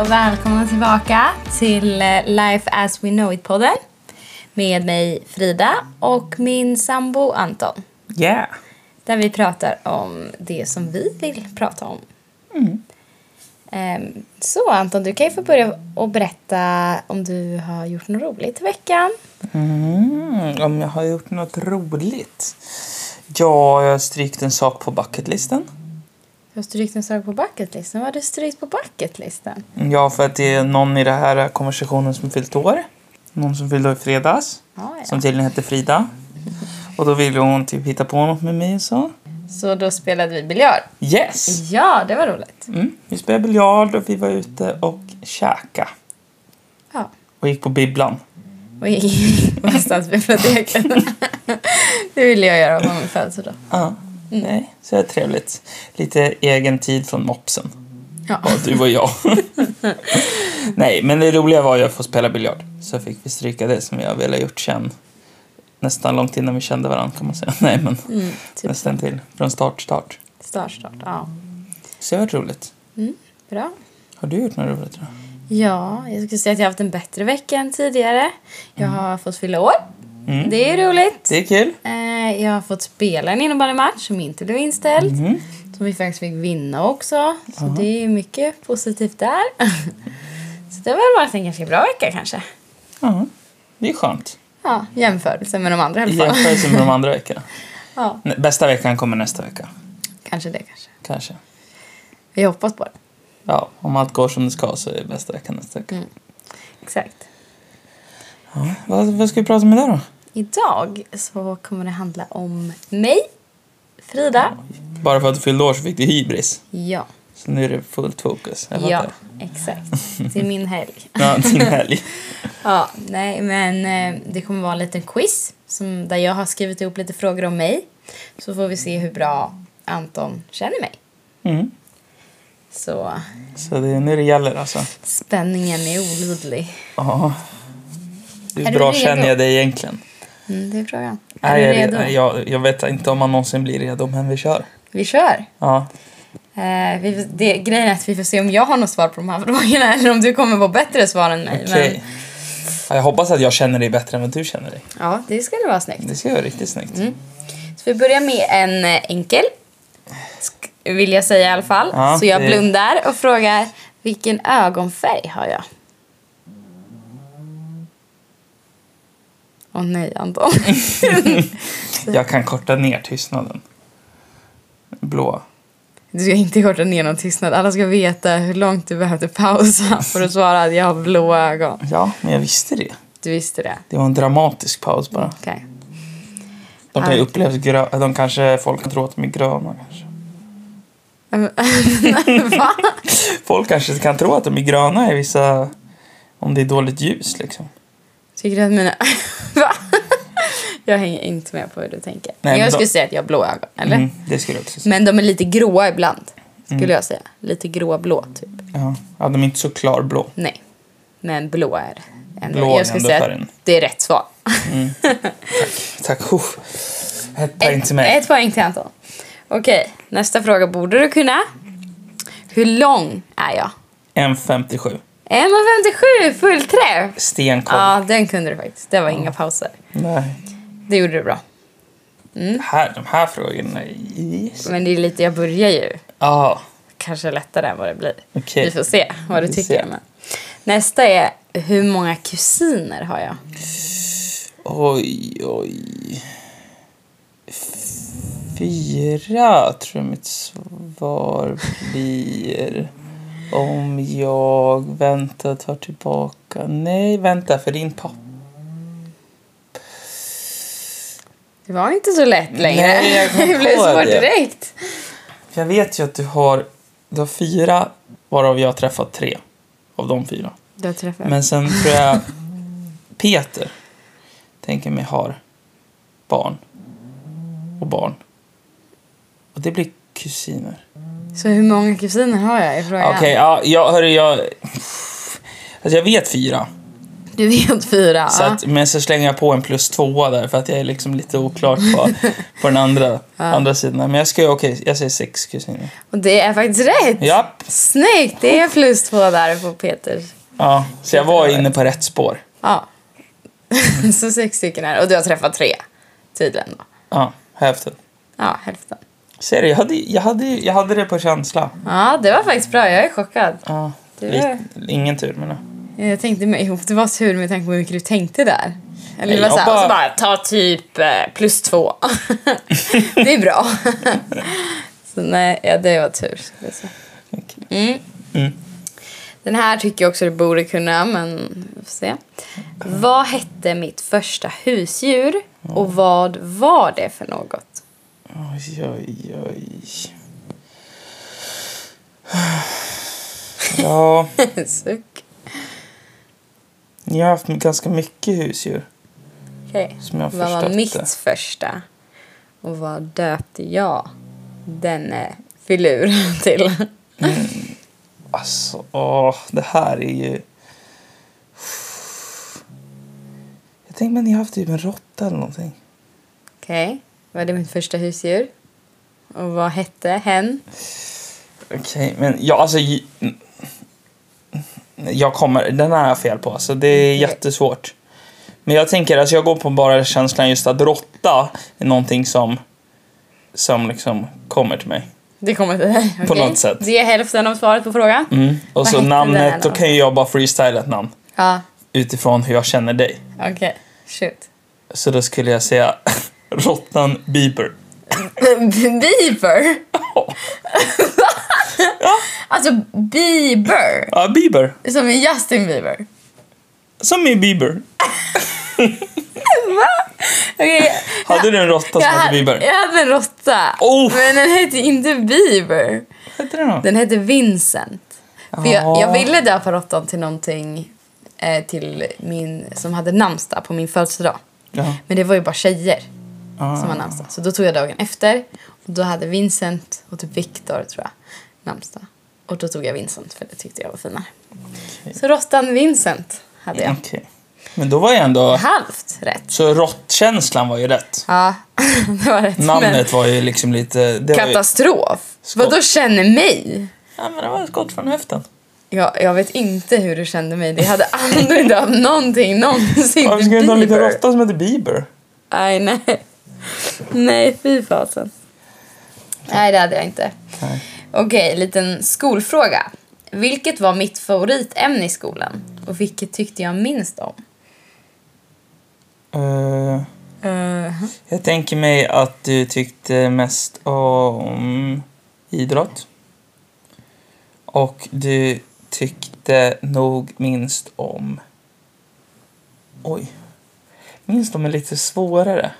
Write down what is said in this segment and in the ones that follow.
och välkomna tillbaka till eh, Life as we know it-podden. Med mig Frida och min sambo Anton. Yeah. Där vi pratar om det som vi vill prata om. Mm. Ehm, Så Anton, du kan ju få börja och berätta om du har gjort något roligt i veckan. Mm, om jag har gjort något roligt? Ja, jag har strykt en sak på bucketlisten. Du har strykt en sak på bucketlisten. Vad har du strykt på bucketlisten? Ja, för att det är någon i den här konversationen som fyllt år. Någon som fyllde år i fredags. Ah, ja. Som tydligen hette Frida. Och då ville hon typ hitta på något med mig och så. Så då spelade vi biljard. Yes! Ja, det var roligt. Mm. Vi spelade biljard och vi var ute och käka. Ja. Och gick på bibblan. Och gick in på stadsbiblioteket. det ville jag göra på min födelsedag. Ja. Nej, så är det trevligt. Lite egen tid från mopsen. Ja. Ja, du och jag. Nej, men det roliga var ju att få spela biljard. Så fick vi stryka det som jag ville ha gjort sen. Nästan långt innan vi kände varandra kan man säga. Nej, men Mm, typ nästan till. Från start, start. startstart. Ja. Så det var roligt. Bra. Har du gjort något roligt då? Ja, jag skulle säga att jag har haft en bättre vecka än tidigare. Jag har fått fylla år. Mm. Det är roligt. Det är kul. Eh, Jag har fått spela en innebandymatch som inte blev inställd. Mhm. Som vi faktiskt fick vinna också. Så det är mycket positivt där. Så det har väl varit en ganska bra vecka kanske. Ja, det är skönt. Ja, jämförelse med de andra i I alla fall. jämförelse med de andra veckorna. Ja, Nä- Bästa veckan kommer nästa vecka. kanske det kanske. Kanske. Vi hoppas på det. Ja, om allt går som det ska så är bästa veckan nästa vecka. Exakt. Mm. Ja, vad, vad ska vi prata om idag då? Idag så kommer det handla om mig, Frida. Bara för att du fyllde år så fick du hybris. Ja, Så nu är det fullt fokus. Jag ja fattar. exakt. Det är min helg. Ja, din helg. Ja, nej, men eh, det kommer vara en liten quiz som, där jag har skrivit ihop lite frågor om mig. Så får vi se hur bra Anton känner mig. Mm. Så Så det är nu det gäller alltså. spänningen är olidlig. Ja. Är Hur du bra redo? känner jag dig egentligen? Mm, det är frågan. Är Nej, du jag, redo? nej, Jag, jag vet inte om man någonsin blir redo, men vi kör. Vi kör. Ja. Eh, vi, får- det, grejen är att vi får se om jag har något svar på de här frågorna eller om du kommer på bättre svar än mig. Okej. Men, Ja, jag hoppas att jag känner dig bättre än vad du känner dig. ja, det skulle vara snyggt. Det ska vara riktigt snyggt. Mm, Så vi börjar med en eh, enkel, sk- vill jag säga i alla fall. Ja, så jag det- blundar och frågar vilken ögonfärg har jag? Åh nej, Anton. Jag kan korta ner tystnaden. Blå. Du ska inte korta ner någon tystnad. Alla ska veta hur långt du behövde pausa för att svara att jag har blå ögon. Ja, men jag visste det. Du visste det? Det var en dramatisk paus bara. Okej. De kan ju upplevas gröna. De kanske folk tror att de är gröna kanske. Va? Folk kanske kan tro att de är gröna i vissa... Om det är dåligt ljus liksom. Tycker du att mina... Va? Jag hänger inte med på hur du tänker. men jag då- skulle säga att jag har blå ögon, eller? Mm, det skulle jag också säga. Men de är lite gråa ibland, Mm. skulle jag säga. Lite gråblå, typ. Ja. ja, de är inte så klarblå. Nej, men blå är ändå... Blå är jag skulle ändå säga färgen. att det är rätt svar. Tack. Uff. Ett poäng till mig. Ett poäng till Anton. Okej, nästa fråga borde du kunna. Hur lång är jag? 1,57. 1,57! Full träff! Stenkoll. Ja, den kunde du faktiskt. Det var inga pauser. Nej. Det gjorde du bra. Här, de här frågorna. Yes. Men det är lite, jag börjar ju. Ja, Kanske lättare än vad det blir. Okej. Vi får se vad du Vi tycker. ser. Men. Nästa är, hur många kusiner har jag? oj, oj. Fyra tror jag mitt svar blir. Om jag väntar tar tillbaka. Nej, vänta för din pappa. Det var inte så lätt längre. Nej, jag kom det blev på svårt det. direkt. För Jag vet ju att du har, du har fyra, varav jag har träffat tre av de fyra. Du har träffat. Men sen tror jag Peter, tänker mig, har barn och barn. Och det blir kusiner. Ah, Så hur många kusiner har jag? Är frågan. Okej, ja, jag, hörru, jag... Alltså jag vet fyra. Du vet fyra. Så att, men så slänger jag på en plus tvåa där för att jag är liksom lite oklart på, på den andra, andra sidan. Men jag ska ju, okej, jag säger sex kusiner. Och det är faktiskt rätt! Japp. Snyggt! Det är plus två där på Peter. Ja, så jag var inne på rätt spår. Ja. Så sex stycken här. Och du har träffat tre, tydligen. Då. Ja, hälften. Ja, hälften. Ser du, jag hade, jag, hade, jag hade det på känsla. Ja, det var faktiskt bra. Jag är chockad. Ja, Det lite, ingen tur men... Eh, Jag tänkte mig ihop. Det var tur med tanke på hur mycket du tänkte där. Eller det var Jag så här, bara- och så bara ta typ eh, plus två. det är bra. så nej, ja, det var tur. skulle jag säga. Okej. Mm. Mm. Den här tycker jag också du borde kunna, men vi får se. Vad hette mitt första husdjur och vad var det för något? Oj, oj, oj. Ja, Suck. jag har haft ganska mycket husdjur Okej. som jag har Vad var förstått mitt det. första? Och vad döpte jag denne filuren till? Alltså, åh, det här är ju... Jag tänker men ni har haft typ en råtta eller någonting. Okej, var det mitt första husdjur? Och vad hette hen? Okej, men jag alltså... j- Jag kommer, den här har jag fel på, så det är jättesvårt. Men jag tänker, alltså jag går på bara känslan just att råtta är någonting som, som liksom kommer till mig. Det kommer till dig. På okej? något sätt. Det är hälften av svaret på frågan. Mm. Och Vad så hette den här namnet, då då? kan ju jag bara freestyla ett namn Ja, utifrån hur jag känner dig. okej. Shoot. Så då skulle jag säga råttan Bieber. Bieber? Ja. Alltså Bieber, Ja, Bieber. som är Justin Bieber. Som i Bieber. Okej, Hade du en råtta som jag, hette hade, Bieber? jag hade en råtta, Oh! men den hette inte Bieber. Hette den då? Den hette Vincent. För Ja. jag, jag ville döpa råttan till någonting eh, till min, som hade namnsdag på min födelsedag. Ja. Men det var ju bara tjejer Ah. som var namnsdag. Så då tog jag dagen efter. Och då hade Vincent och typ Viktor tror jag namnsdag. Och då tog jag Vincent för det tyckte jag var finare. Så råttan Vincent hade jag. Okej. Men då var jag ändå... Halvt rätt. Så råttkänslan var ju rätt. Ja, det var rätt. Men Namnet var ju liksom lite... Det var ju, katastrof. Skott. Vadå känner mig? ja, men det var ett skott från höften. Ja, jag vet inte hur du kände mig. Det hade aldrig döpt någonting någonsin. Varför ska du inte ha en liten Bieber. råtta som heter Bieber? Nej, nej. Nej, fy fasen. Nej, det hade jag inte. Nej. Okej, liten skolfråga. Vilket var mitt favoritämne i skolan? Och vilket tyckte jag minst om? Eh, jag tänker mig att du tyckte mest om idrott. Och du tyckte nog minst om... Oj. Minst om är lite svårare.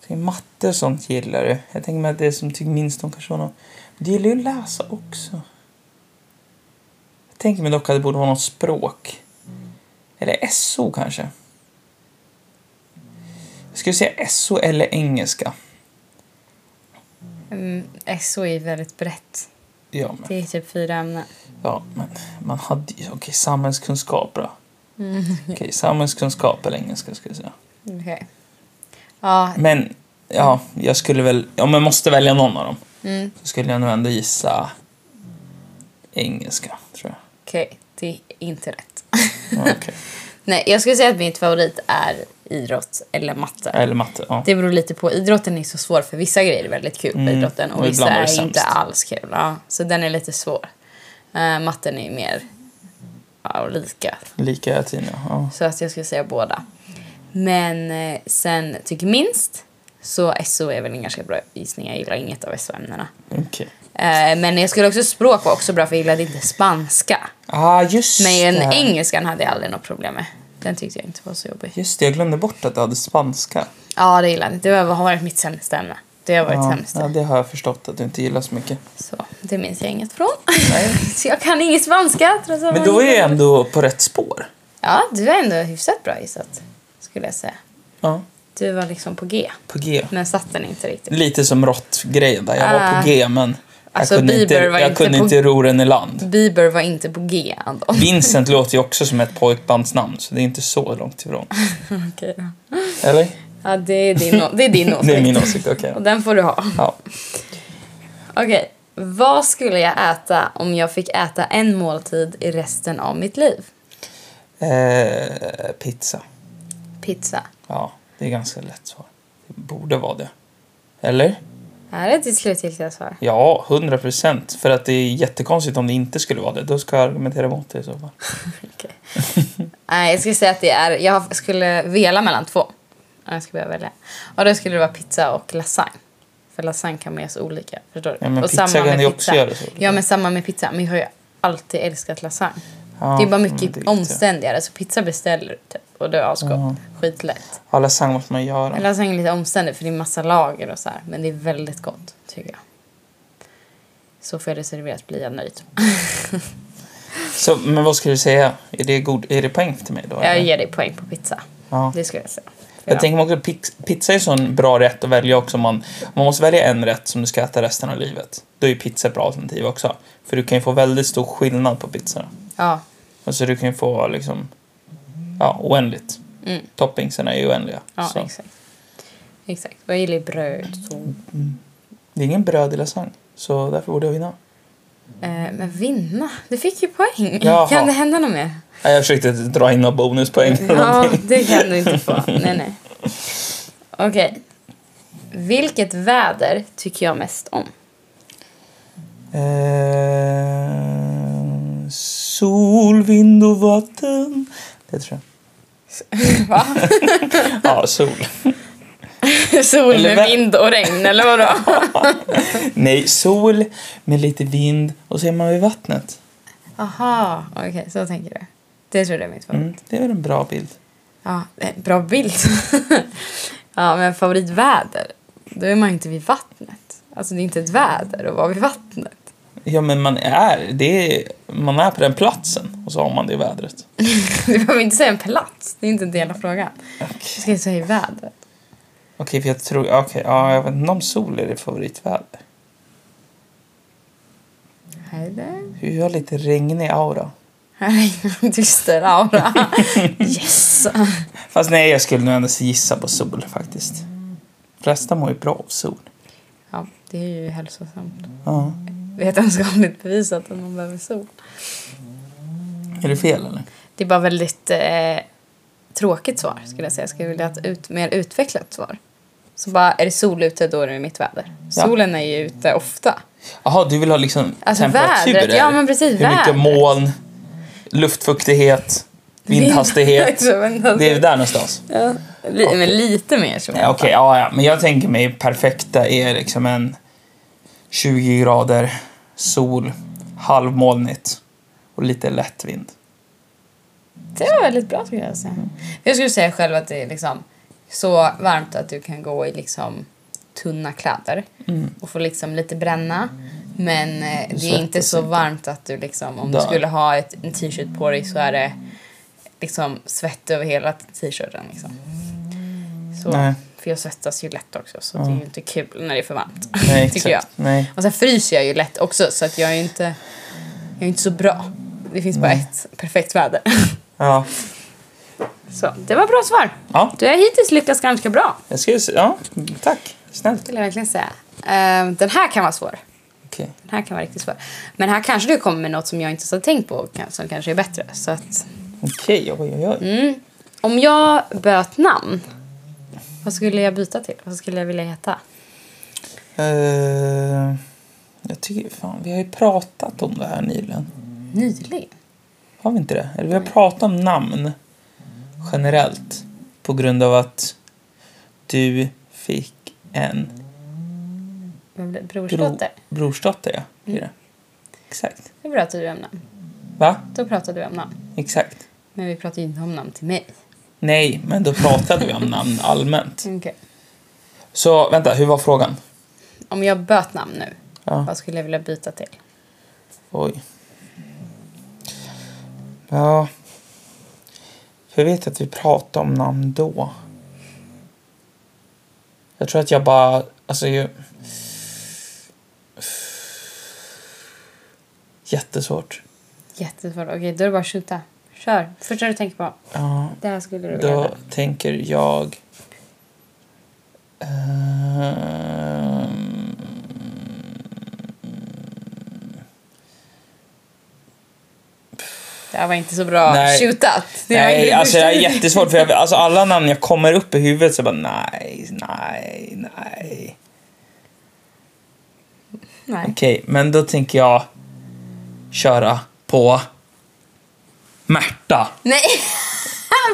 Jag tänker Matte och sånt gillar du. Jag tänker mig att det som tycker minst om kanske var någon... Du gillar ju att läsa också. Jag tänker mig dock att det borde vara något språk. Eller SO kanske. Jag skulle säga SO eller engelska. Mm, SO är väldigt brett. Ja, men, Det är typ fyra ämnen. ja, men man hade ju... Okej, samhällskunskap då. Mm. Okej, samhällskunskap eller engelska skulle jag säga. Okej. Ja, Men ja, jag skulle väl... Om jag måste välja någon av dem mm, så skulle jag nog ändå gissa engelska, tror jag. okej. Det är inte rätt. Ja, okej. Nej, jag skulle säga att mitt favorit är idrott eller matte. Eller matte, ja. Det beror lite på. Idrotten är så svår för vissa grejer är väldigt kul på Mm, idrotten och och vissa ibland var det är inte sämst. alls kul. Ja, så den är lite svår. Eh, matten är ju mer ja, och lika. Lika Tina, ja. Så att jag skulle säga båda. Men eh, sen tycker minst så SO är väl en ganska bra gissning. Jag gillar inget av SO-ämnena. Okej. Eh, men jag skulle också språk var också bra för jag gillade inte spanska. Ah, just Men det. engelskan hade jag aldrig något problem med. Den tyckte jag inte var så jobbig. Just det, jag glömde bort att du hade spanska. Ja, det gillade jag inte. Det har varit mitt sämsta ämne. Det har varit Ja, sämst. ja, det har jag förstått att du inte gillar så mycket. Så det minns jag inget från. så jag kan inget spanska. Trots att Men man då är gillar jag det. ändå på rätt spår. Ja, du är ändå hyfsat bra gissat. Skulle jag säga. Ja, Du var liksom på G. på G. Men satt den inte riktigt. Lite som råttgrejen där. Jag var Ah. på G men Alltså jag kunde, Bieber inte, var jag inte kunde på... inte ro den i land. Bieber var inte på G ändå. Vincent låter ju också som ett pojkbandsnamn, så det är inte så långt ifrån. Okej då. Eller? Ja, det är din, o- det är din åsikt. Det är min åsikt, okej. Och den får du ha. Ja. Okej. Vad skulle jag äta om jag fick äta en måltid i resten av mitt liv? Eh, pizza. Pizza. Ja, det är ganska lätt svar. Det borde vara det. Eller? Här är ditt slutgiltiga svar. Ja, 100 procent. För att det är jättekonstigt om det inte skulle vara det. Då ska jag argumentera emot det i så fall. Nej, jag skulle säga att det är... Jag skulle vela mellan två. Om jag skulle behöva välja. Och då skulle det vara pizza och lasagne. För lasagne kan man göra så olika. Förstår du? Ja, men och pizza kan du också göra så. Ja, men samma med pizza. Men jag har ju alltid älskat lasagne. Ja, det är bara men mycket det är inte- omständigare. Så pizza beställer du typ. Och du har avskott. Skitlätt. Ja, lasagne måste man Men göra. lasagne är lite omständigt för det är massa lager och så här. Men det är väldigt gott tycker jag. Så får jag det serverat blir jag nöjd. Så, men vad ska du säga? Är det, god, är det poäng till mig då? Jag eller? ger dig poäng på pizza. Ja. Det skulle jag säga. Jag Ja. tänker mig också att pix- pizza är en sån bra rätt att välja också. om Man, om man måste välja en rätt som du ska äta resten av livet. Då är pizza ett bra alternativ också. För du kan ju få väldigt stor skillnad på pizzorna. Ja. Alltså du kan ju få liksom, ja, oändligt. Mm. Toppingsen är ju oändliga. Ja, så. exakt. Exakt. Och jag gillar ju bröd. Så. Det är ingen bröd i lasagne, så därför borde jag vinna. Eh, men vinna? Du fick ju poäng. Jaha. Kan det hända något mer? Nej, Jag försökte dra in några bonuspoäng eller Ja, någonting. det kan du inte få. Nej, nej. Okej. Vilket väder tycker jag mest om? Eh, sol, vind och vatten. Det tror Va? jag. Ja, sol. Sol Eller med vä- vind och regn, eller vadå? Nej, sol med lite vind och så är man vid vattnet. Aha, okej, så tänker du. Det tror jag är mitt favorit. Mm, det är väl en bra bild. Ja, eh, bra bild. ja, men favoritväder. Då är man ju inte vid vattnet. Alltså det är inte ett väder att vara vid vattnet. Ja, men man är, det är, man är på den platsen och så har man det i vädret. Du behöver inte säga en plats, det är inte en del av frågan. Du Okej, ska ju säga vädret. Okej, för jag tror... Okej, ja, jag vet inte om sol är det favoritväder. Hej där. Du har lite regnig aura. Här är en dyster aura. Yes! Fast nej, jag skulle nog ändå gissa på sol faktiskt. De flesta mår ju bra av sol. Ja, det är ju hälsosamt. Ja. Vetenskapligt bevisat att man behöver sol. Är det fel eller? Det är bara väldigt eh, tråkigt svar skulle jag säga. Jag skulle vilja ha ett ut, mer utvecklat svar. Så bara, är det sol ute då är det mitt väder. Ja. Solen är ju ute ofta. Jaha, du vill ha liksom Alltså, temperaturer? vädret. Ja, eller? men precis, Hur mycket vädret. moln, luftfuktighet, vindhastighet. Vind- Vindhastighet. det är där någonstans. Ja. Li, Men lite mer så. Ja, Okej, ja, ja. Men jag tänker mig perfekta är liksom en 20 grader sol, halvmolnigt och lite lätt vind. Det var väldigt bra skulle jag säga. Jag skulle säga själv att det är liksom så varmt att du kan gå i liksom tunna kläder och få liksom lite bränna. Men eh, det är inte svettas så varmt att du liksom, om du Dör. skulle ha ett, en t-shirt på dig så är det liksom svett över hela t-shirten liksom. Så, Nej. för jag svettas ju lätt också så det är ju inte kul när det är för varmt. Nej, tycker jag. exakt. Nej. Och sen fryser jag ju lätt också så att jag är ju inte, jag är inte så bra. Det finns bara ett perfekt väder. Ja. Så, det var bra svar. Ja. Du har hittills lyckats ganska bra, Jag ska ju se- ja, tack. Snällt. skulle jag verkligen säga. Ehm, den här kan vara svår. Okej. Den här kan vara riktigt svår. Men här kanske du kommer med något som jag inte så har tänkt på och kan- som kanske är bättre. Så att, Okej, oj, oj, oj. mm. Om jag böt namn, vad skulle jag byta till? Vad skulle jag vilja heta? Eh, jag tycker, fan, vi har ju pratat om det här nyligen. Nyligen? Har vi inte det? Eller vi har pratat om namn generellt på grund av att du fick en Vad blev det? bro, Brorsdotter? brorsdotter. Ja. Det är det. Exakt. Det pratade du om namn. Va? Då pratade vi om namn. Exakt. Men vi pratade ju inte om namn till mig. Nej, men då pratade vi om namn allmänt. Okej. Så vänta, hur var frågan? Om jag böt namn nu, Ja. vad skulle jag vilja byta till? Oj. Ja. För jag vet att vi pratade om namn då. Jag tror att jag bara... Alltså, jag... Jättesvårt. Jättesvårt. Okej, då är det bara att skjuta. Kör. Första du tänker på. Ja, Det här skulle du vilja. då tänker jag... Ehm. Det här var inte så bra Nej. skjutat. Det var inte Nej, det alltså första jag är du- jättesvårt för jag, alltså alla namn jag kommer upp i huvudet så bara nej, nej, nej. Nej. Okej, men då tänker jag köra på Märta. Nej.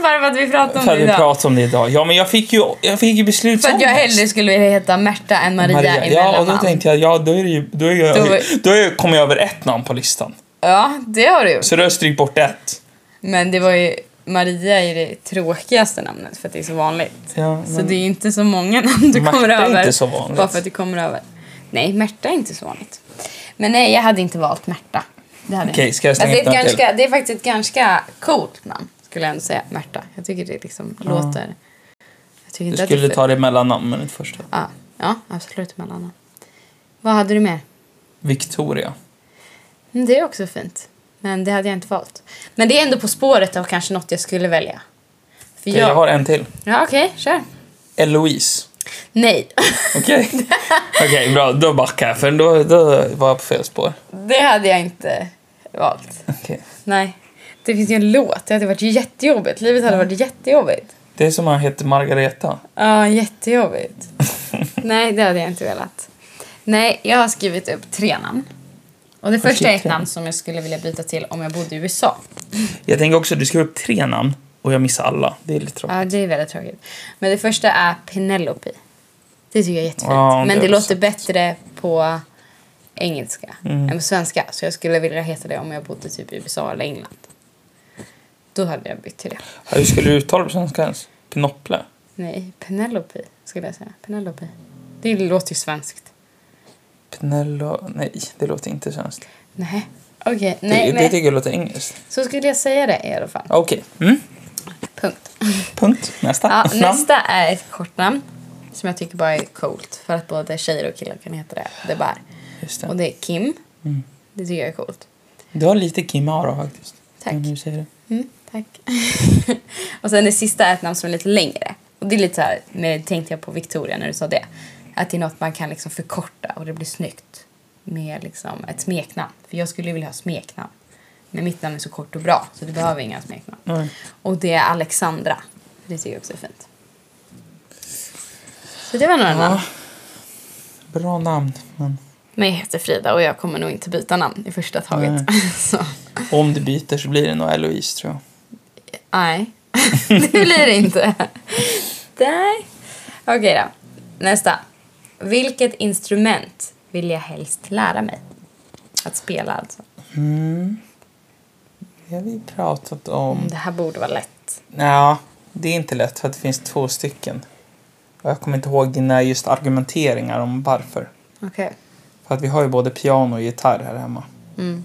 Bara för att vi pratade om För det att vi idag. pratade om det idag. Ja, men jag fick ju, jag fick ju beslut För att jag hellre skulle vilja heta Märta än Maria, Maria. i Ja, och då mellannamn. tänkte jag, ja då är det ju, då är jag, Då- då, är jag, kommer jag över ett namn på listan. Ja, det har du gjort. Så då har jag strykt bort ett. Men det var ju, Maria är det tråkigaste namnet för att det är så vanligt. Ja, Så men- det är ju inte så många namn du Märta kommer är över. inte så vanligt. Bara för att du kommer över. Nej, Märta är inte så vanligt. Men nej, jag hade inte valt Märta. Det hade jag Okej, inte. ska jag slänga alltså, det, är ett ett namn ganska, det är faktiskt ett ganska coolt namn, skulle jag ändå säga. Märta. Jag tycker det liksom låter... Jag tycker Du inte skulle att det ta det mellannamn, men inte första. Ja, ja absolut. Mellan. Vad hade du mer? Victoria. Mm, Det är också fint. Men det hade jag inte valt. Men det är ändå På spåret av kanske något jag skulle välja. För Okej, Jag har en till. Ja, okej. kör. Eloise. Nej. Okej, Okej, bra. Då backar jag, för då, då var jag på fel spår. Det hade jag inte valt. Okej. Nej. Det finns ju en låt. Det hade varit jättejobbigt. Livet hade varit jättejobbigt. Det är som han heter Margareta. Ja, jättejobbigt. Nej, det hade jag inte velat. Nej, jag har skrivit upp tre namn. Och det första är ett tre. namn som jag skulle vilja byta till om jag bodde i USA. Jag tänker också att du skrev upp tre namn och jag missade alla. Det är lite tråkigt. Ja, det är väldigt tråkigt. Men det första är Penelope. Det tycker jag är jättefint. Ja, Men det det är låter bättre på engelska än på svenska. Så jag skulle vilja heta det om jag bodde typ i USA eller England. Då hade jag bytt till det. Ja, Hur skulle du uttala det på svenska ens? Pinople? Nej, Penelope skulle jag säga. Penelope. Det låter ju svenskt. Penelo... Nej, det låter inte svenskt. Nej, okej. det, Nej, det men tycker jag låter engelskt. så skulle jag säga det i alla fall. Okej. Mm. Punkt. Punkt. Nästa. Ja, Namn. nästa är ett kort namn som jag tycker bara är coolt. För att både tjejer och killar kan heta det. Det är bara. Just Och det. det är Kim. Mm. Det tycker jag är coolt. Du har lite Kim Ara faktiskt. Tack. Nu säger du. Mm, tack. och sen det sista är ett namn som är lite längre. Och det är lite så här, med, tänkte jag på Victoria när du sa det. Att det är något man kan liksom förkorta och det blir snyggt. Med liksom ett smeknamn. För jag skulle ju vilja ha smeknamn. Men mitt namn är så kort och bra så du behöver inga smeknamn. Nej. Och det är Alexandra. Det tycker jag också är fint. Så det var några namn. Ja. Bra namn. Men Men jag heter Frida och jag kommer nog inte byta namn i första taget. så. om du byter så blir det nog Eloise tror jag. Nej, det blir det inte. Nej. Okej då. Nästa. Vilket instrument vill jag helst lära mig? Att spela alltså. Mm. Det har vi pratat om. Det här borde vara lätt. Ja, det är inte lätt för att det finns två stycken. Och jag kommer inte ihåg dina just argumenteringar om varför. Okej. För att vi har ju både piano och gitarr här hemma. Mm,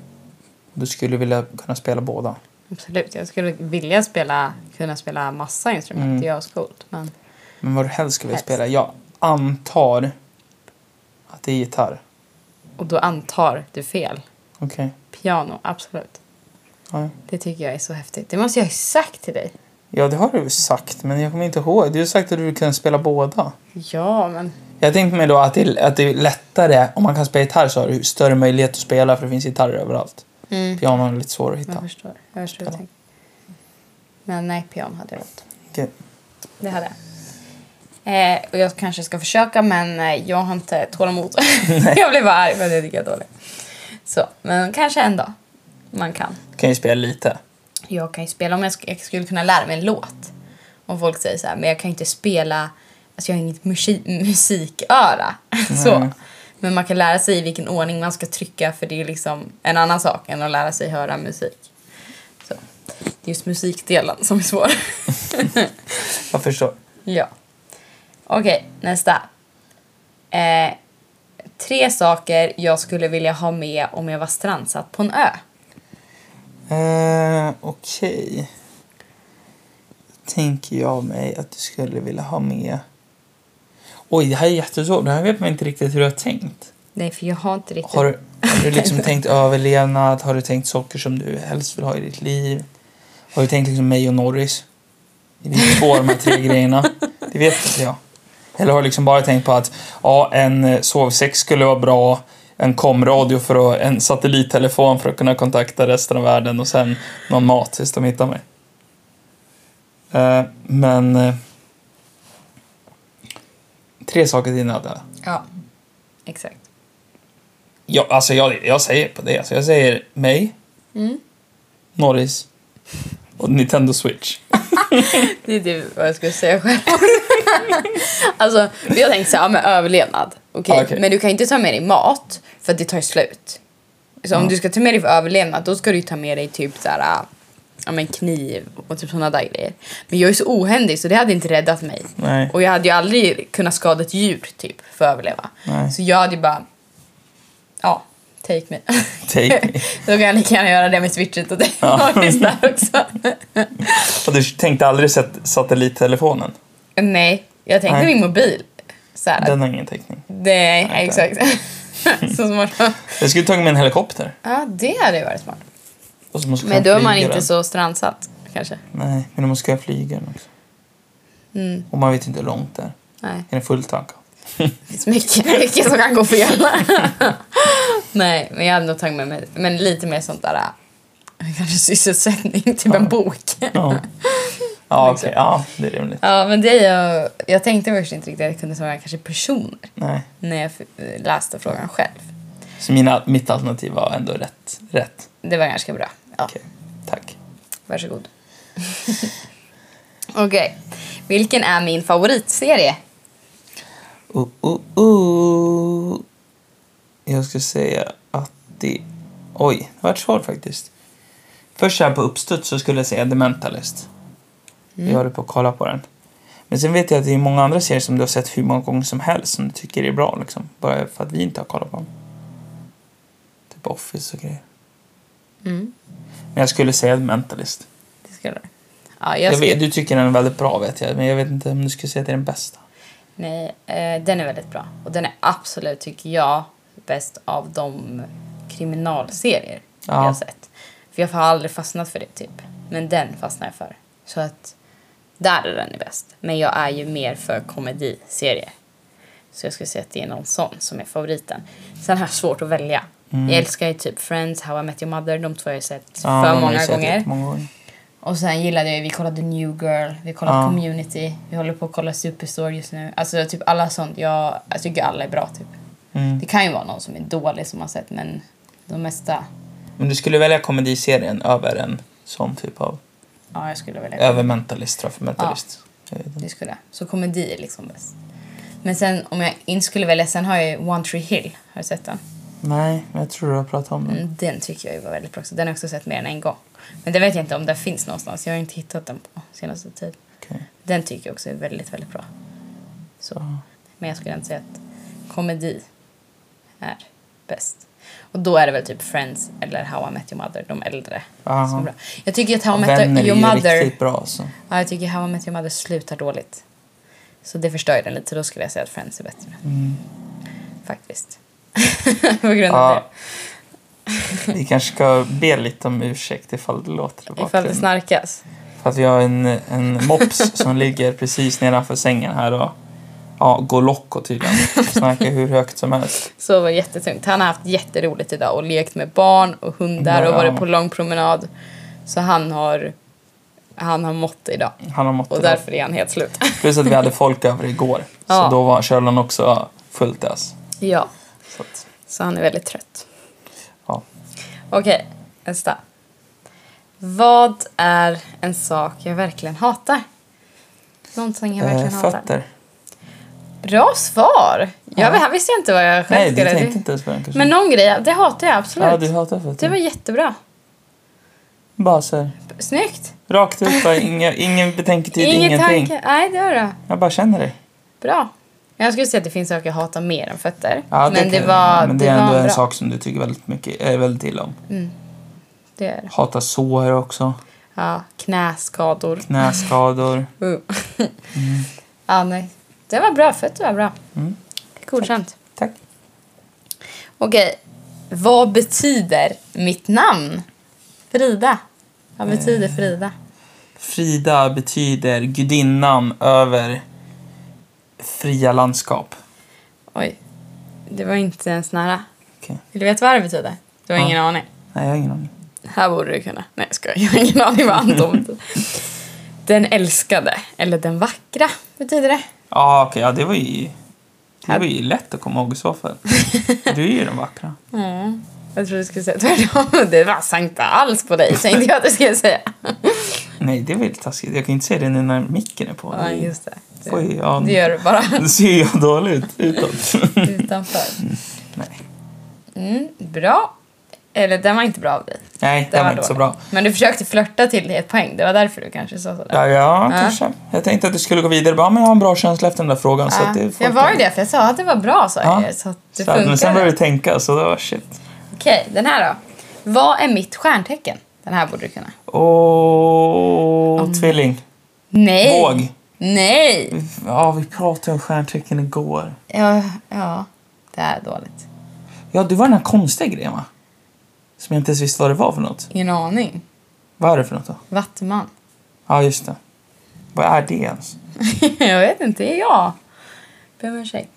Du skulle vilja kunna spela båda. absolut. Jag skulle vilja spela, kunna spela massa instrument. Det är ascoolt. Men Men vad du helst skulle vilja Helst. spela? Jag antar att det är gitarr. Och då antar du fel. Okej. Piano, absolut. Ja. Det tycker jag är så häftigt. Det måste jag ha sagt till dig. ja, det har du sagt, men jag kommer inte ihåg. Du har sagt att du vill kunna spela båda. Ja, men... Jag tänkte mig då att det, att det är lättare, om man kan spela gitarr så har du större möjlighet att spela för det finns gitarrer överallt. Mm. Pianon är lite svårare att Jag hitta. förstår. Jag förstår. Spela. tänk. Men nej, piano hade jag valt. Okej. Det hade jag. Eh, och jag kanske ska försöka men eh, jag har inte tålamod. jag blir bara arg för att jag tycker jag är dålig. Så, men kanske en dag. Man kan. Kan ju spela lite. Jag kan ju spela om jag, sk- jag skulle kunna lära mig en låt. Om folk säger så här, men jag kan ju inte spela, alltså jag har inget musi- musiköra. så. Nej. Men man kan lära sig i vilken ordning man ska trycka för det är liksom en annan sak än att lära sig höra musik. Så. Det är just musikdelen som är svår. Jag förstår. Ja. Okej, nästa. Eh, tre saker jag skulle vilja ha med om jag var strandsatt på en ö. Eh, Okej. Då Tänker jag mig att du skulle vilja ha med... Oj, det här är jättesvårt. Det här vet man inte riktigt hur du har tänkt. Nej, för jag har inte riktigt... Har du, Har du liksom tänkt överlevnad? Har du tänkt saker som du helst vill ha i ditt liv? Har du tänkt liksom mig och Norris? Det är två av de här tre grejerna. Det vet inte jag. Eller har du liksom bara tänkt på att ja, en sovsäck skulle vara bra, en komradio för att, en satellittelefon för att kunna kontakta resten av världen och sen någon mat tills de hittar mig. Eh, men... eh, Tre saker till nödvändiga. Ja, exakt. Ja, alltså jag, jag säger på det. Alltså jag säger mig, Mm. Norris och Nintendo Switch. Det är typ vad jag skulle säga själv. alltså, vi har tänkt så här, ja, men överlevnad. Okej, Ja, okej. Men du kan inte ta med dig mat för att det tar ju slut. Så om Ja. du ska ta med dig för överlevnad då ska du ju ta med dig typ så här, ja, men kniv och typ sådana där grejer. Men jag är så ohändig så det hade inte räddat mig. Nej. Och jag hade ju aldrig kunnat skada ett djur typ för att överleva. Nej. Så jag hade ju bara, ja, take me. Take me. Då kan jag lika gärna göra det med switchet och det Ja. där också. Och du tänkte aldrig sett satellittelefonen? Nej, jag tänkte Nej. min mobil. Så här, Den har ingen täckning. Nej, Nej, exakt. så smart. Jag skulle tagit med en helikopter. Ja, det hade ju varit smart. Och så måste jag Men då är man flyga inte den. så strandsatt kanske. Nej, men då måste jag flyga den också. Mm, Och man vet inte hur långt det är. nej, Är det full tank? det finns mycket, mycket som kan gå fel. nej, men jag hade nog tagit med mig men lite mer sånt där äh, kanske sysselsättning, typ en bok. Ja. Ja, Liksom. okej. Ja, det är rimligt. ja, men det är jag, jag tänkte faktiskt inte riktigt att jag kunde ta med kanske personer Nej. när jag f- läste frågan själv. Så mina, mitt alternativ var ändå rätt. Rätt. Det var ganska bra. Ja. Okej. Tack. Varsågod. Okej. Vilken är min favoritserie? Uh, uh, uh. Jag ska säga att det... Oj, det vart svårt faktiskt. Först här på uppstuds så skulle jag säga The Mentalist. Mm. Jag håller på att kolla på den. Men sen vet jag att det är många andra serier som du har sett hur många gånger som helst som du tycker är bra liksom. Bara för att vi inte har kollat på dem. Typ Office och grejer. Mm. Men jag skulle säga The Mentalist. Det ska du. Ja, Jag jag ska... vet, du tycker den är väldigt bra vet jag, men jag vet inte om du skulle säga att det är den bästa. Nej, eh, den är väldigt bra. Och den är absolut, tycker jag, bäst av de kriminalserier jag Ja. har sett. För jag har aldrig fastnat för det, typ. Men den fastnar jag för. Så att där är den bäst. Men jag är ju mer för komediserier. Så jag skulle säga att det är någon sån som är favoriten. Sen har jag svårt att välja. Jag älskar ju typ Friends, How I Met Your Mother. De två har jag sett Mm. Ja, de har för ju många sett gånger. jättemånga gånger. Och sen gillade jag, vi kollade New Girl, vi kollade Ja. Community, vi håller på att kolla Superstore just nu. Alltså typ alla sånt, jag, jag tycker alla är bra typ. Mm. Det kan ju vara någon som är dålig som man sett men de mesta, Men du skulle välja komediserien över en sån typ av... ja jag skulle välja. Över mentalist tror jag, för mentalist. Jag vet inte. Det skulle jag. Så komedi är liksom bäst. Men sen om jag inte skulle välja, sen har jag ju One Tree Hill, har du sett den? Nej, men jag tror du har pratat om den. Mm, den tycker jag ju var väldigt bra också. Den har jag också sett mer än en gång. Men den vet jag inte om den finns någonstans, jag har inte hittat den på senaste tiden. Okej. Den tycker jag också är väldigt, väldigt bra. Så. Men jag skulle inte säga att komedi är bäst. Och då är det väl typ Friends eller How I Met Your Mother, de äldre. Aha. Som är bra. Jag tycker att How I Vänner Met är Your ju Mother, riktigt bra alltså. ja, jag tycker How I Met Your Mother slutar dåligt. Så det förstör ju den lite, då skulle jag säga att Friends är bättre. Faktiskt. På grund av Mm. Ja. Vi kanske ska be lite om ursäkt ifall det låter i det. Ifall det bakgrunden. snarkas. För att vi har en, en mops som ligger precis nedanför sängen här och ja, går loco tydligen. Snarkar hur högt som helst. Så var det jättetungt. Han har haft jätteroligt idag och lekt med barn och hundar och Ja. varit på lång promenad. Så han har, han har mått idag. Han har mått Och det där. därför är han helt slut. Plus att vi hade folk över igår. Ja. Så då var kölen också fullt ös. ja, Så att, så han är väldigt trött. ja. Okej, nästa. Vad är en sak jag verkligen hatar? Någonting jag verkligen Eh, hatar. fötter. Bra svar! Jag, Ja. Här visste jag inte vad jag själv Nej, du skulle... tänkte inte ens på den kanske? Men någon grej, det hatar jag absolut. ja, du hatar fötter. Det var jättebra. Bara så här, Snyggt! rakt ut bara, inga, ingen betänketid, Ingen Typ ingenting. tanke. Nej, det var bra. Jag bara känner det. Bra. Jag skulle säga att det finns saker jag hatar mer än fötter. Ja, men det kan- var, men det det är var ändå en bra. sak som du tycker väldigt mycket, äh, väldigt illa om. Det är, Hatar sår också, ja, knäskador. knäskador. Uh. Mm. ja, nej. Det var bra. Fötter var bra. Mm. Godkänt. Tack. Okej. Vad betyder mitt namn? Frida. Vad betyder Eh. Frida? Frida betyder gudinnan över fria landskap. Oj, det var inte ens nära. Okej. Vill du veta vad det betyder? Du har Ja. ingen aning. Nej, jag har ingen aning. Här borde du kunna. Nej, jag skojar. Jag har ingen aning vad Anton betyder. Den älskade, eller den vackra, betyder det. Ja, okej, ja, det var ju... Det var ju lätt att komma ihåg i så fall. Du är ju den vackra. Mm. Jag trodde du skulle säga tvärtom. Det var inte alls på dig, tänkte jag att du skulle säga. Nej, det är väl taskigt. Jag kan inte säga det nu när micken är på. Ja, just det. Det, Oj, ja, det gör du bara Nu ser jag dålig ut utåt. utanför. Nej, Mm, bra. Eller den var inte bra av dig. Nej det var inte så dålig. bra. Men du försökte flörta till dig ett poäng. Det var därför du kanske sa sådär. Ja, ja, Ja. kanske. Jag tänkte att du skulle gå vidare. Bara, men jag har en bra känsla efter den där frågan. så Ja, att det Ah, jag var ju det, för jag sa att det var bra sa jag Ja. ju, Så att det Så, att- men sen funkar. började du tänka, så det var shit. Okej, den här då. Vad är mitt stjärntecken? Den här borde du kunna. Åh, tvilling. Nej! Våg. Nej! Ja, vi pratade om stjärntecken igår. Ja, ja, det här är dåligt. Ja, det var den här konstiga grejen, va? Som jag inte ens visste vad det var för något. Ingen aning. Vad är det för något då? Vattuman. Ja, just det. Vad är det ens? jag vet inte, det är jag. Ber om ursäkt.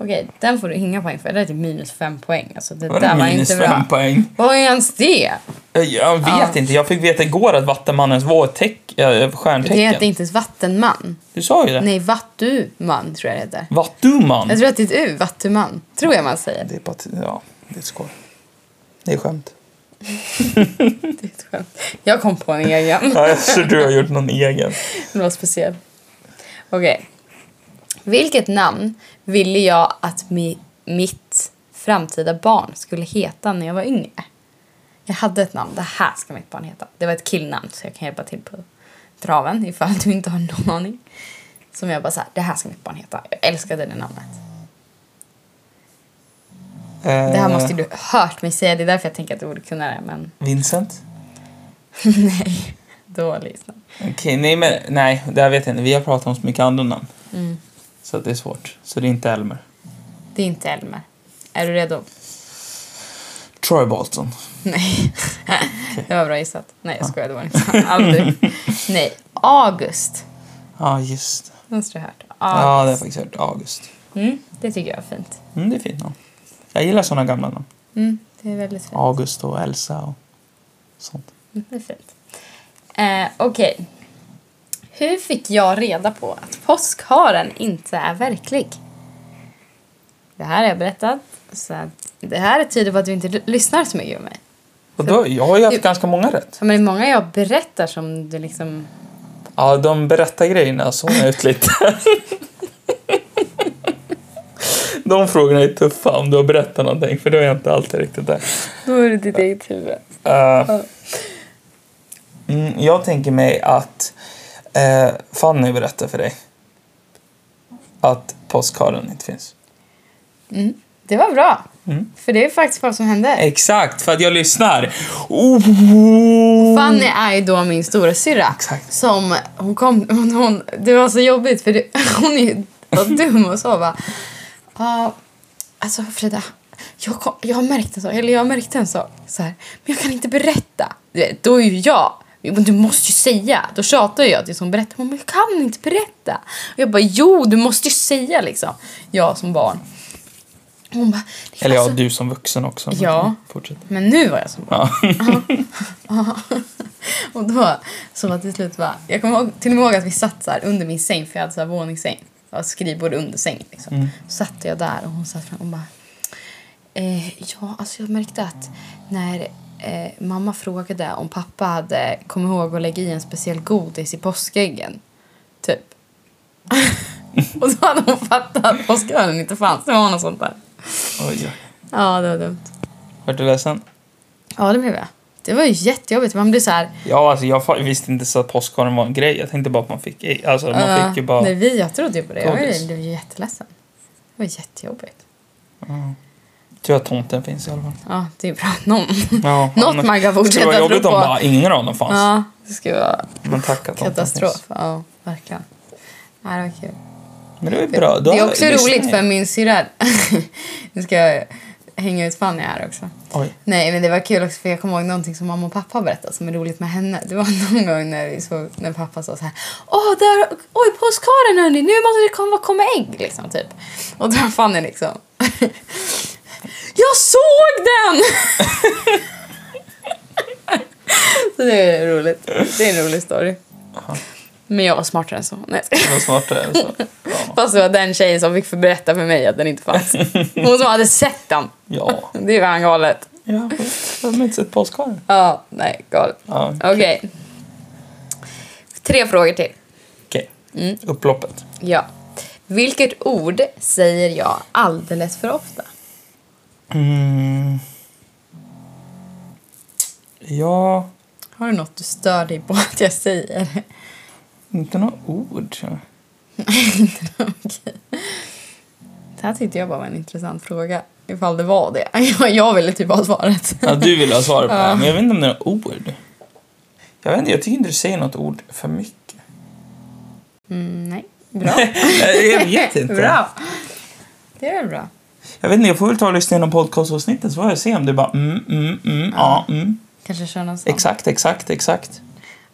Okej, den får du inga poäng för. Det är typ minus fem poäng. Alltså, det Var där det var minus inte bra. fem poäng? Vad är ens det? Eh, Jag vet Ja. inte. Jag fick veta igår att Vattenmannens vårteck, äh, Det heter stjärntecken. inte ens vattenman. Du sa ju det. Nej, vattuman tror jag det heter. Vattuman. Jag tror att det är ett U, vattuman. Tror jag man säger. Det är bara... ett- Ja, det är ett skoj. Det är skämt. Det är ett skämt. Jag kom på en egen. Ja, jag tror du har gjort någon egen. Det var speciell. Okej. Vilket namn ville jag att mi, mitt framtida barn skulle heta när jag var yngre? Jag hade ett namn. Det här ska mitt barn heta. Det var ett killnamn så jag kan hjälpa till på traven ifall du inte har någon aning. Som jag bara så här, det här ska mitt barn heta. Jag älskade det namnet. Det Eh, här måste ju du hört mig säga. Det är därför jag tänker att du borde kunna det. Men Vincent? nej, dålig lyssnare. Okej, nej men nej, det här vet jag inte. Vi har pratat om så mycket andra namn. Mm. Så att det är svårt. Så det är inte Elmer. Det är inte Elmer. Är du redo? Troy Bolton. Nej. Det var bra gissat. Nej, jag skojar. Det var inte sant. Aldrig. Nej. August. Ja, just det. Den har du hört. Ja, det har jag August. faktiskt hört. August. Mm, det tycker jag är fint. Mm, det är fint namn. Jag gillar såna gamla namn. Mm, det är väldigt fint. August och Elsa och sånt. Mm, Det är fint. Eh, Okej. Hur fick jag reda på att påskharen inte är verklig? Det här har jag berättat. Så att det här tyder på att du inte l- lyssnar så mycket på mig. Och då, jag har ju haft Jo. ganska många rätt. Ja, Men det är många jag berättar som du liksom... Ja, de berättar grejerna såg jag ut lite. de frågorna är tuffa om du har berättat någonting för då är jag inte alltid riktigt där. Då är det ditt eget huvud. Eh, mm, jag tänker mig att eh, Fanny berättar för dig att påskharen inte finns. Mm, det var bra. Mm. För det är faktiskt vad som hände. Exakt, för att jag lyssnar. Oh! Fanny är ju då min stora syrra. Exakt. Som hon kom, hon, hon, det var så jobbigt för det, hon är ju så dum och så bara. Ja, alltså Frida, jag, kom, jag har märkt en sak, eller jag har märkt en sak så här, men jag kan inte berätta. Du vet, Då är ju jag, "Jo, men du måste ju säga. Då tjatar jag tills hon berättar, men jag kan inte berätta. Och jag bara, jo du måste ju säga liksom. Jag som barn. Hon bara, "Det är Eller ja, alltså-" du som vuxen också. men Ja. Fortsätt. men nu var jag som barn. Ja. Och då så var till slut bara, jag kommer ihåg, till och med ihåg att vi satt så här under min säng för jag hade så här våningssäng. Jag hade skrivbord under sängen liksom. Så satt jag där och hon satt fram och bara eh, Ja, alltså jag märkte att när eh, mamma frågade om pappa hade kommit ihåg att lägga i en speciell godis i påskäggen. Typ. och då hade hon fattat att påskölen inte fanns. Det var något sånt där. Oj, oj. Ja, det var dumt. Vart du ledsen? Ja, det blev jag. Det var ju jättejobbigt. Man blir så här Ja, alltså jag fa- visste inte så att påskharen var en grej. Jag tänkte bara att man fick... Alltså, man Ja, fick ju bara... Nej, vi, jag trodde ju på det. Jag Godis. blev- blev ju jätteledsen. Det var jättejobbigt. Tur att tomten finns i alla fall. Ja, det är bra. Någon. Ja, Något annars- man kan Det fortsätta var tro jobbigt om på. bara ingen av dem fanns. Ja, det skulle vara Men tack att tomten katastrof. finns. Ja, verkligen. Ja, det var kul. Men det var ju bra. Då Det är har- också lyssnar roligt ni. för min syrra... nu ska jag hänga ut Fanny här också. Oj. Nej, men det var kul också för jag kommer ihåg någonting som mamma och pappa berättade som är roligt med henne. Det var någon gång när, vi såg, när pappa sa så här Åh, där, oj, påskaren hörni, nu måste det komma, komma ägg liksom typ. Och då var Fanny liksom Jag såg den! så det är roligt. Det är en rolig story. Men jag var smartare än så. Nej. Det var smartare än så. Ja. Fast det var den tjejen som fick för- berätta för mig att den inte fanns. Hon som hade sett den. Ja. Det är fan galet. ja. Jag har inte sett påskaren. Ja, nej, galet. Ja. Okej. Tre frågor till. Okej. Mm. Upploppet. Ja. Vilket ord säger jag alldeles för ofta? Mm. Ja, Har du något du stör dig på att jag säger? inte några ord. tror jag. Okej. Det här tyckte jag bara var en intressant fråga. Ifall det var det. Jag, jag ville typ ha svaret. Ja, du vill ha svar på det, här, men jag vet inte om det är några ord. Jag vet inte, jag tycker inte du säger något ord för mycket. Mm, nej. Bra. jag vet inte. Bra. Det är väl bra. Jag vet inte, jag får väl ta och lyssna igenom podcastavsnitten så får jag se om det bara mm, mm, mm, ja, mm. Kanske kör någon sån. Exakt, exakt, exakt.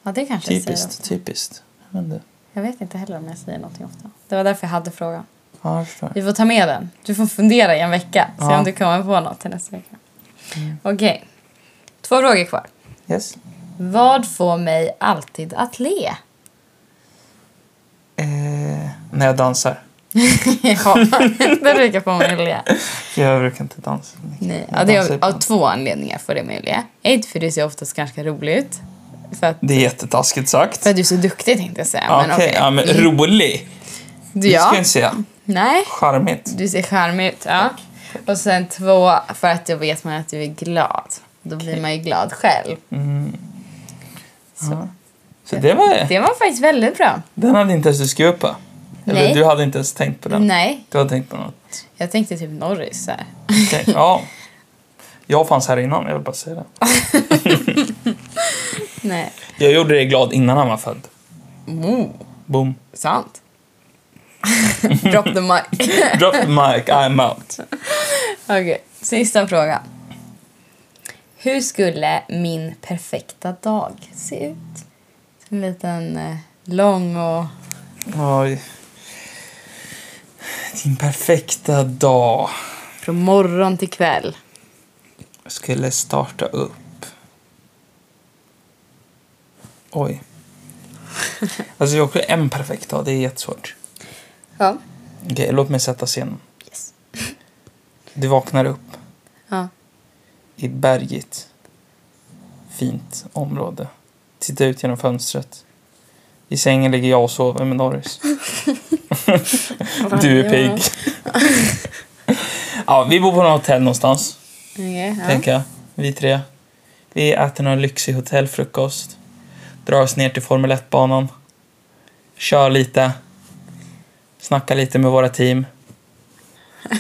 Ja, det kanske jag säger. Typiskt, typiskt. Jag vet inte. Jag vet inte heller om jag säger någonting ofta. Det var därför jag hade frågan. Ja, jag förstår. Vi får ta med den. Du får fundera i en vecka. Se Ja. Mm. om du kommer på något till nästa vecka. Okej. Två frågor kvar. Yes. Vad får mig alltid att le? Eh, när jag dansar. ja, det brukar få mig att le. Jag brukar inte dansa. så mycket. Nej. Jag Ja, det dansar är av ibland. två anledningar får det mig att le. Ett, för du ser oftast ganska rolig ut. För att, Det är jättetaskigt sagt. för att du är så duktig tänkte jag säga. Okej, men okej. ja, men rolig. Du, Det ska jag ja. inte säga. Nej. Charmigt. Du ser charmig ut. Ja. Och sen två, för att då vet man att du är glad. Då blir man ju glad själv. Så det var Det var faktiskt väldigt bra. Den hade inte ens du skrivit på. Eller Nej. du hade inte ens tänkt på den. Nej, Du hade tänkt på något. jag tänkte typ Norris. Så här. Okej, ja. Jag fanns här innan, jag vill bara säga det. Nej. Jag gjorde dig glad innan han var född. Oh, Boom. sant. Drop the mic. Okej, Drop the mic, I'm out. sista frågan. Hur skulle min perfekta dag se ut? En liten eh, lång och... Oj. Din perfekta dag Från morgon till kväll. Jag skulle starta upp. Oj. Alltså jag har också en perfekt dag, det är jättesvårt. Ja. Okej, låt mig sätta scenen. Yes. Du vaknar upp Ja. i bergigt, fint område. Titta ut genom fönstret. I sängen ligger jag och sover med Norris. Du är pigg. ja, vi bor på något hotell någonstans, Okej, ja. tänker jag. Vi tre. Vi äter någon lyxig hotellfrukost. Drar oss ner till Formel 1-banan. Kör lite. Snackar lite med våra team.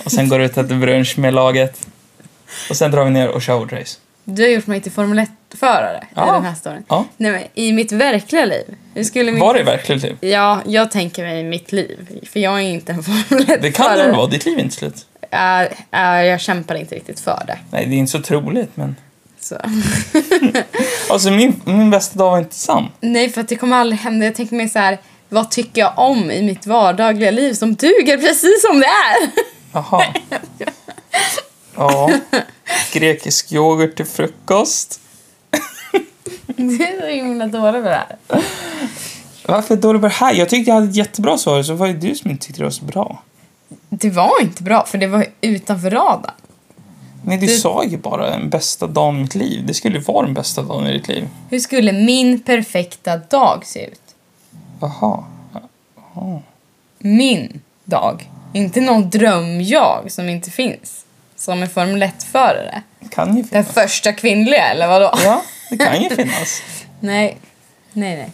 Och sen går ut och äter brunch med laget. Och sen drar vi ner och kör vårt Du har gjort mig till Formel 1-förare Ja. i den här storyn. Ja. Nej, men i mitt verkliga liv. Hur skulle min... Var det verkligen typ? Ja, jag tänker mig mitt liv. För jag är inte en Formel 1-förare. Det kan det väl vara? Ditt liv är inte slut. Ja, ja, jag kämpar inte riktigt för det. Nej, det är inte så troligt, men... Så. Alltså, min, min bästa dag var inte sann. Nej, för att det kommer aldrig hända. Jag tänker mig så här, vad tycker jag om i mitt vardagliga liv som duger precis som det är? Jaha. Ja. Grekisk yoghurt till frukost. Det är så himla dåligt med det här. Varför är dålig på det här? Jag tyckte jag hade ett jättebra svar, så var det du som inte tyckte det var så bra. Det var inte bra, för det var utanför radarn. Nej, du, Du- sa ju bara den bästa dagen i mitt liv. Det skulle ju vara den bästa dagen i ditt liv. Hur skulle min perfekta dag se ut? Jaha. min dag. Inte någon drömjag som inte finns. Som en Formel 1-förare. Det kan ju Den finnas. första kvinnliga, eller vadå? Ja, det kan ju finnas. Nej. Nej, nej.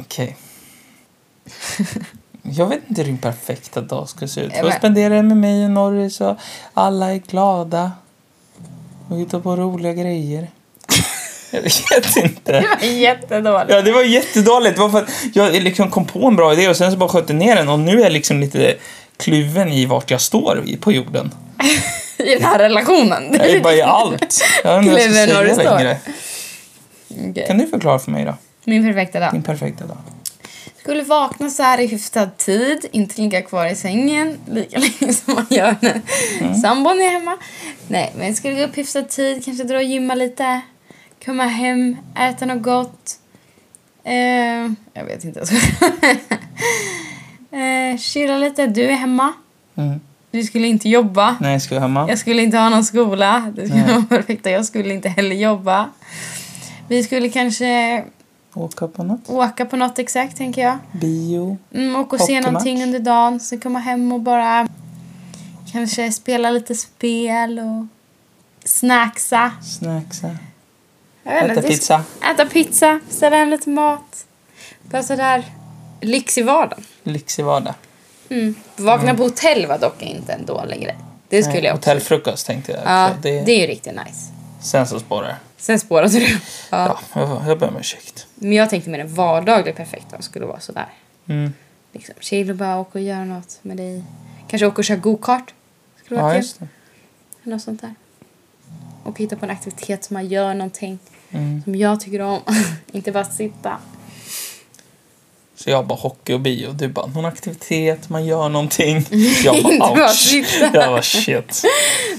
Okej. Jag vet inte hur din perfekta dag ska se ut. Jag Får med. spendera den med mig och Norris och alla är glada. Och hittar på roliga grejer. Jag vet inte. Det var jättedåligt. Ja, det var jättedåligt. Det var för att jag liksom kom på en bra idé och sen så bara sköt jag ner den och nu är jag liksom lite kluven i vart jag står i- på jorden. i den här relationen. Jag är bara i allt. Jag vet inte vad Clever när du jag ska säga står. längre. Okej. Kan du förklara för mig då? Min perfekta dag. Din perfekta dag. Skulle vakna så här i hyfsad tid, inte ligga kvar i sängen lika länge som man gör när sambon är hemma. Nej, men jag skulle gå upp hyfsad tid, kanske dra och gymma lite, komma hem, äta något gott. Eh, jag vet inte. eh, chilla lite. Du är hemma. Mm. Du skulle inte jobba. När jag ska vara hemma. Jag skulle inte ha någon skola. Det skulle Nej. vara perfekt. Jag skulle inte heller jobba. Vi skulle kanske Åka på något. åka på något exakt, tänker jag. Bio. Mm, åka och se Hockeymatch. någonting under dagen, sen komma hem och bara kanske spela lite spel och snacksa. Snacksa. Jag vet inte, Äta det är- pizza. Äta pizza, ställa hem lite mat. Bara sådär lyx i vardagen. Lyxig vardag. Mm. Vakna på hotell var dock inte en dålig grej. Det skulle Nej, jag också... Hotellfrukost tänkte jag. Ja, också. det... det... är ju riktigt nice. Sen så spårar det. Sen spårade du. Ja. Ja, jag, jag ber om ursäkt. Men jag tänkte mer en vardaglig perfekt dag skulle vara sådär. Mm. Liksom, chill och bara åka och göra något med dig. Kanske åka och köra go-kart. Skulle vara Ja, kul. just det. Eller något sånt där. Och hitta på en aktivitet som man gör någonting Mm. som jag tycker om. inte bara sitta. Så jag bara hockey och bio. Du bara någon aktivitet, man gör någonting. Jag Inte bara bara ouch. sitta. Jag bara shit.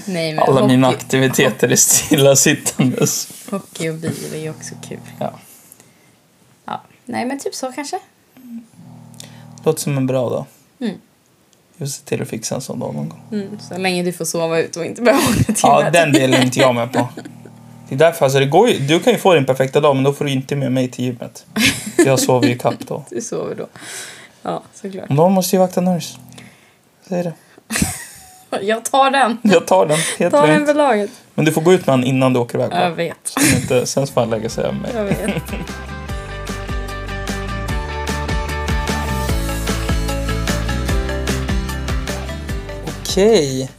Nej, men Alla hockey, mina aktiviteter är stillasittandes. hockey och bio är ju också kul. Ja. Ja. Nej, men typ så kanske. Låter som en bra dag. Mm. Jag ser till att fixa en sån dag någon gång. Mm, så länge du får sova ut och inte behöver åka till Ja, möten. den delen är inte jag med på. Det är därför, alltså det går ju, du kan ju få din perfekta dag men då får du inte med mig till gymmet. För Jag sover ju kapp då. Du sover då. Ja, såklart. Men Någon måste ju vakta Nurse. Säg det. Jag tar den. Jag tar den, helt Ta den lugnt. för laget. Men du får gå ut med honom innan du åker iväg. Jag va? vet. Sen inte- Sen så får han lägga sig över mig. Jag vet. Okej.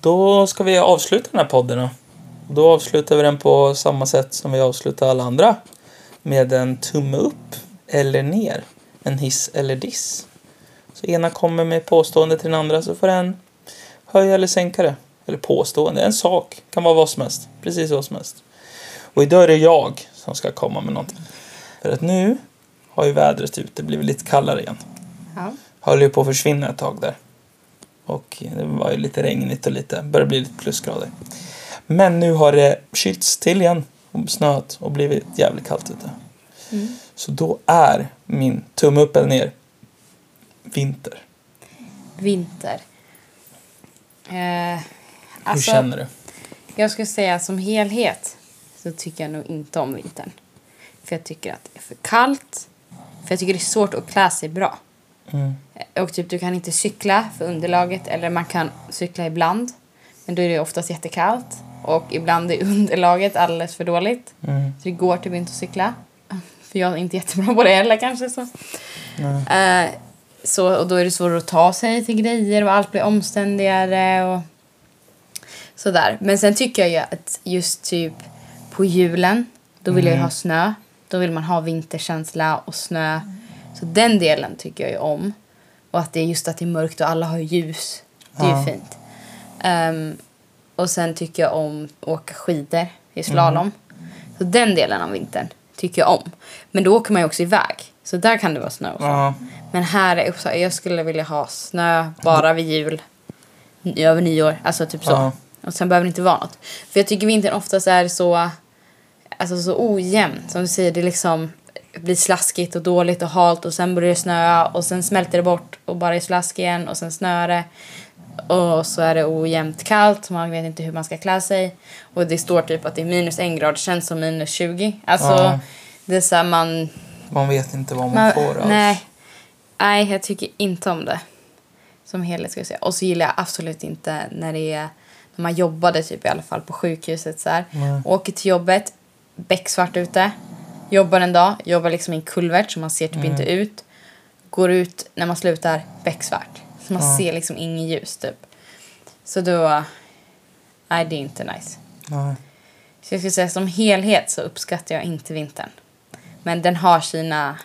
Då ska vi avsluta den här podden då. Då avslutar vi den på samma sätt som vi avslutar alla andra. Med en tumme upp eller ner. En hiss eller diss. Så ena kommer med påstående till den andra så får den höja eller sänka det. Eller påstående, en sak. Kan vara vad som helst. Precis vad som helst. Och idag är det jag som ska komma med någonting. För att nu har ju vädret ute blivit lite kallare igen Ja. höll ju på att försvinna ett tag där. Och det var ju lite regnigt och lite, började bli lite plusgrader. Men nu har det kylts till igen och snöat och blivit jävligt kallt ute. Mm. Så då är min tumme upp eller ner vinter. Vinter. Eh, Hur alltså- känner du? Jag skulle säga som helhet så tycker jag nog inte om vintern. För jag tycker att det är för kallt. För jag tycker det är svårt att klä sig bra. Mm. Och typ du kan inte cykla för underlaget eller man kan cykla ibland. Men då är det oftast jättekallt. Och ibland är underlaget alldeles för dåligt. Mm. Så det går typ inte att cykla. För jag är inte jättebra på det heller kanske. Så. Nej. Eh, så, och då är det svårare att ta sig till grejer och allt blir omständigare och sådär. Men sen tycker jag ju att just typ på julen, då vill jag ju ha snö. Då vill man ha vinterkänsla och snö. Så den delen tycker jag ju om. Och att det är just att det är mörkt och alla har ljus. Det är Ja. ju fint. Ehm, och sen tycker jag om att åka skidor i slalom. Så den delen av vintern tycker jag om. Men då åker man ju också iväg. Så där kan det vara snö och så. Ja, Men här är också, jag skulle vilja ha snö bara vid jul. n- Över nyår, alltså typ så. Ja. Och sen behöver det inte vara något. För jag tycker vintern oftast är så, alltså så ojämn. Som du säger, det liksom blir slaskigt och dåligt och halt och sen börjar det snöa och sen smälter det bort och bara är slask igen och sen snöar det. Och så är det ojämnt kallt, man vet inte hur man ska klä sig. Och det står typ att det är minus en grad, känns som minus 20. Alltså, Ja. det är så här, man man vet inte vad man man- får alls. nej. nej, jag tycker inte om det. Som helhet ska jag säga. Och så gillar jag absolut inte när det är när man jobbade typ i alla fall på sjukhuset så här. Nej. Åker till jobbet, becksvart ute. Jobbar en dag, jobbar liksom i en kulvert så man ser typ inte ut. Går ut när man slutar, becksvart. Så man ser liksom inget ljus typ. Så då, nej det är inte nice. Nej. Så jag skulle säga som helhet så uppskattar jag inte vintern. Men den har sina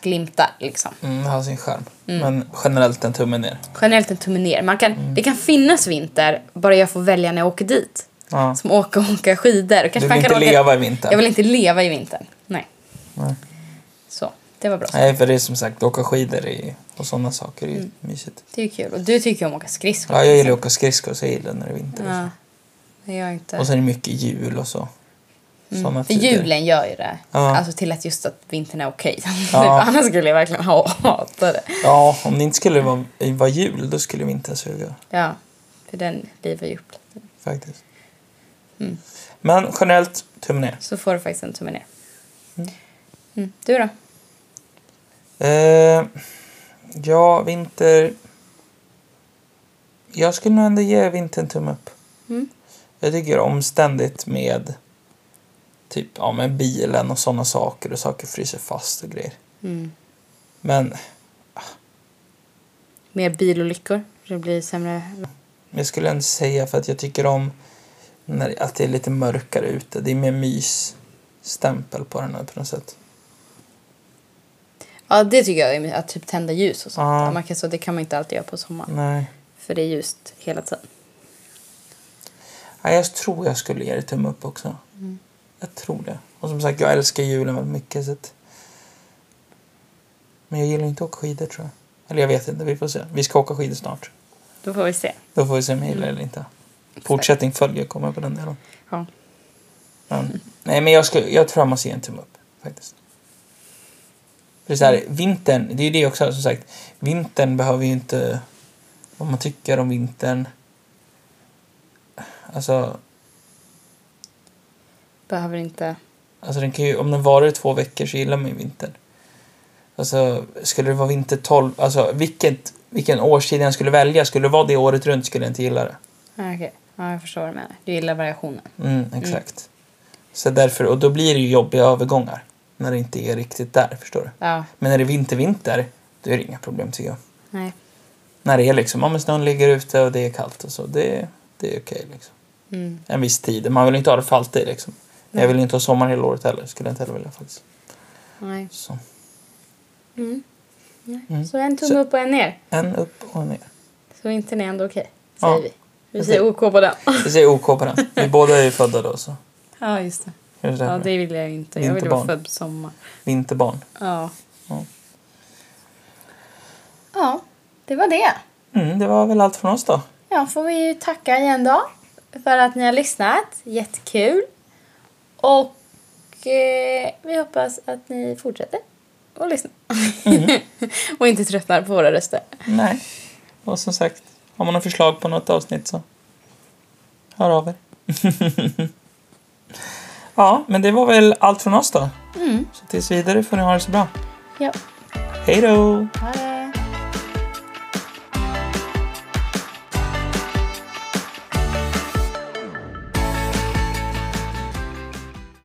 glimtar liksom. Mm, har sin skärm. Men generellt en tumme ner. Generellt en tumme ner. Man kan, Mm. Det kan finnas vinter, bara jag får välja när jag åker dit. Ja. Som åka och åka skidor. Kanske Du vill man inte kan åka... leva i vintern. Jag vill inte leva i vintern. Nej. Nej. Så, det var bra. Nej, för det är som sagt, åka skidor i, och sådana saker är ju Mm. mysigt. Det är ju kul. Och du tycker ju om att åka skridskor. Ja, jag gillar att åka skridskor så jag gillar när det är vinter. och så. Ja. Det gör jag inte. Och sen är det mycket jul och så. Såna För tider. julen gör ju det. Ja. Alltså till att just att vintern är okej. Ja. Annars skulle jag verkligen ha hata det. Ja, om det inte skulle vara, vara jul då skulle vintern suga Ja, för den livar ju upp lite. faktiskt. Men generellt, tummen ner. Så får du faktiskt en tumme ner. Mm. Du då? Eh, ja, vinter... Jag skulle nog ändå ge vintern tumme upp. Mm. Jag tycker omständigt med typ ja, med bilen och sådana saker och saker fryser fast och grejer. Mm. Men Mer bilolyckor. Det blir sämre. jag skulle ändå säga för att jag tycker om när, att det är lite mörkare ute. Det är mer mysstämpel på den här på något sätt. Ja, det tycker jag. är- Att typ tända ljus och sånt. Ja. Mm. där. Man kan, så det kan man inte alltid göra på sommaren. Nej. För det är ljust hela tiden. Nej, jag tror jag skulle ge det tumme upp också. Jag tror det. Och som sagt, jag älskar julen väldigt mycket. Så att... Men jag gillar inte att åka skidor tror jag. Eller jag vet inte, vi får se. Vi ska åka skidor snart. Då får vi se. Då får vi se om jag gillar det eller inte. Fortsättning följer kommer på den delen. Ja. Men, nej, men jag, skulle, jag tror jag måste ge en tumme upp faktiskt. För det är så här, vintern, det är ju det också som sagt. Vintern behöver ju inte vad man tycker om vintern. Alltså, Behöver inte... Alltså den kan ju, om den varar i två veckor så gillar man ju vintern. Alltså, skulle det vara vinter 12, alltså vilket, vilken årstid jag skulle välja, skulle det vara det året runt skulle jag inte gilla det. Ja, okej. Ja, jag förstår vad du menar. Du gillar variationen. Mm, exakt. Så därför, och då blir det ju jobbiga övergångar när det inte är riktigt där, förstår du. Ja. Men när det är vinter, vinter, då är det inga problem tycker jag. Nej. När det är liksom, ja men snön ligger ute och det är kallt och så, det, det är okej liksom. Mm. En viss tid, man vill inte ha det för alltid liksom. Men Jag vill inte ha sommar hela året heller, skulle jag inte heller vilja faktiskt. Nej. Så, Mm. Nej. Mm. Så en tumme Så- upp och en ner. en upp och en ner. Så inte är ändå okej, Ja. säger vi. Vi säger OK på den. Vi säger OK på den. Vi båda är ju födda då så. Ja, just det. Är Ja, det därför? det vill jag inte. Jag vill vara Vinterbarn. född på sommar. Vinterbarn. Ja. Ja. Ja, det var det. Mm, det var väl allt från oss då. Ja, får vi ju tacka igen då för att ni har lyssnat. Jättekul. Och eh, vi hoppas att ni fortsätter att lyssna. och inte tröttnar på våra röster. Nej. Och som sagt, har man några förslag på något avsnitt så hör av er. ja, men det var väl allt från oss då. Mm. Så tills vidare får ni ha det så bra. Ja. Hej då! Ha det.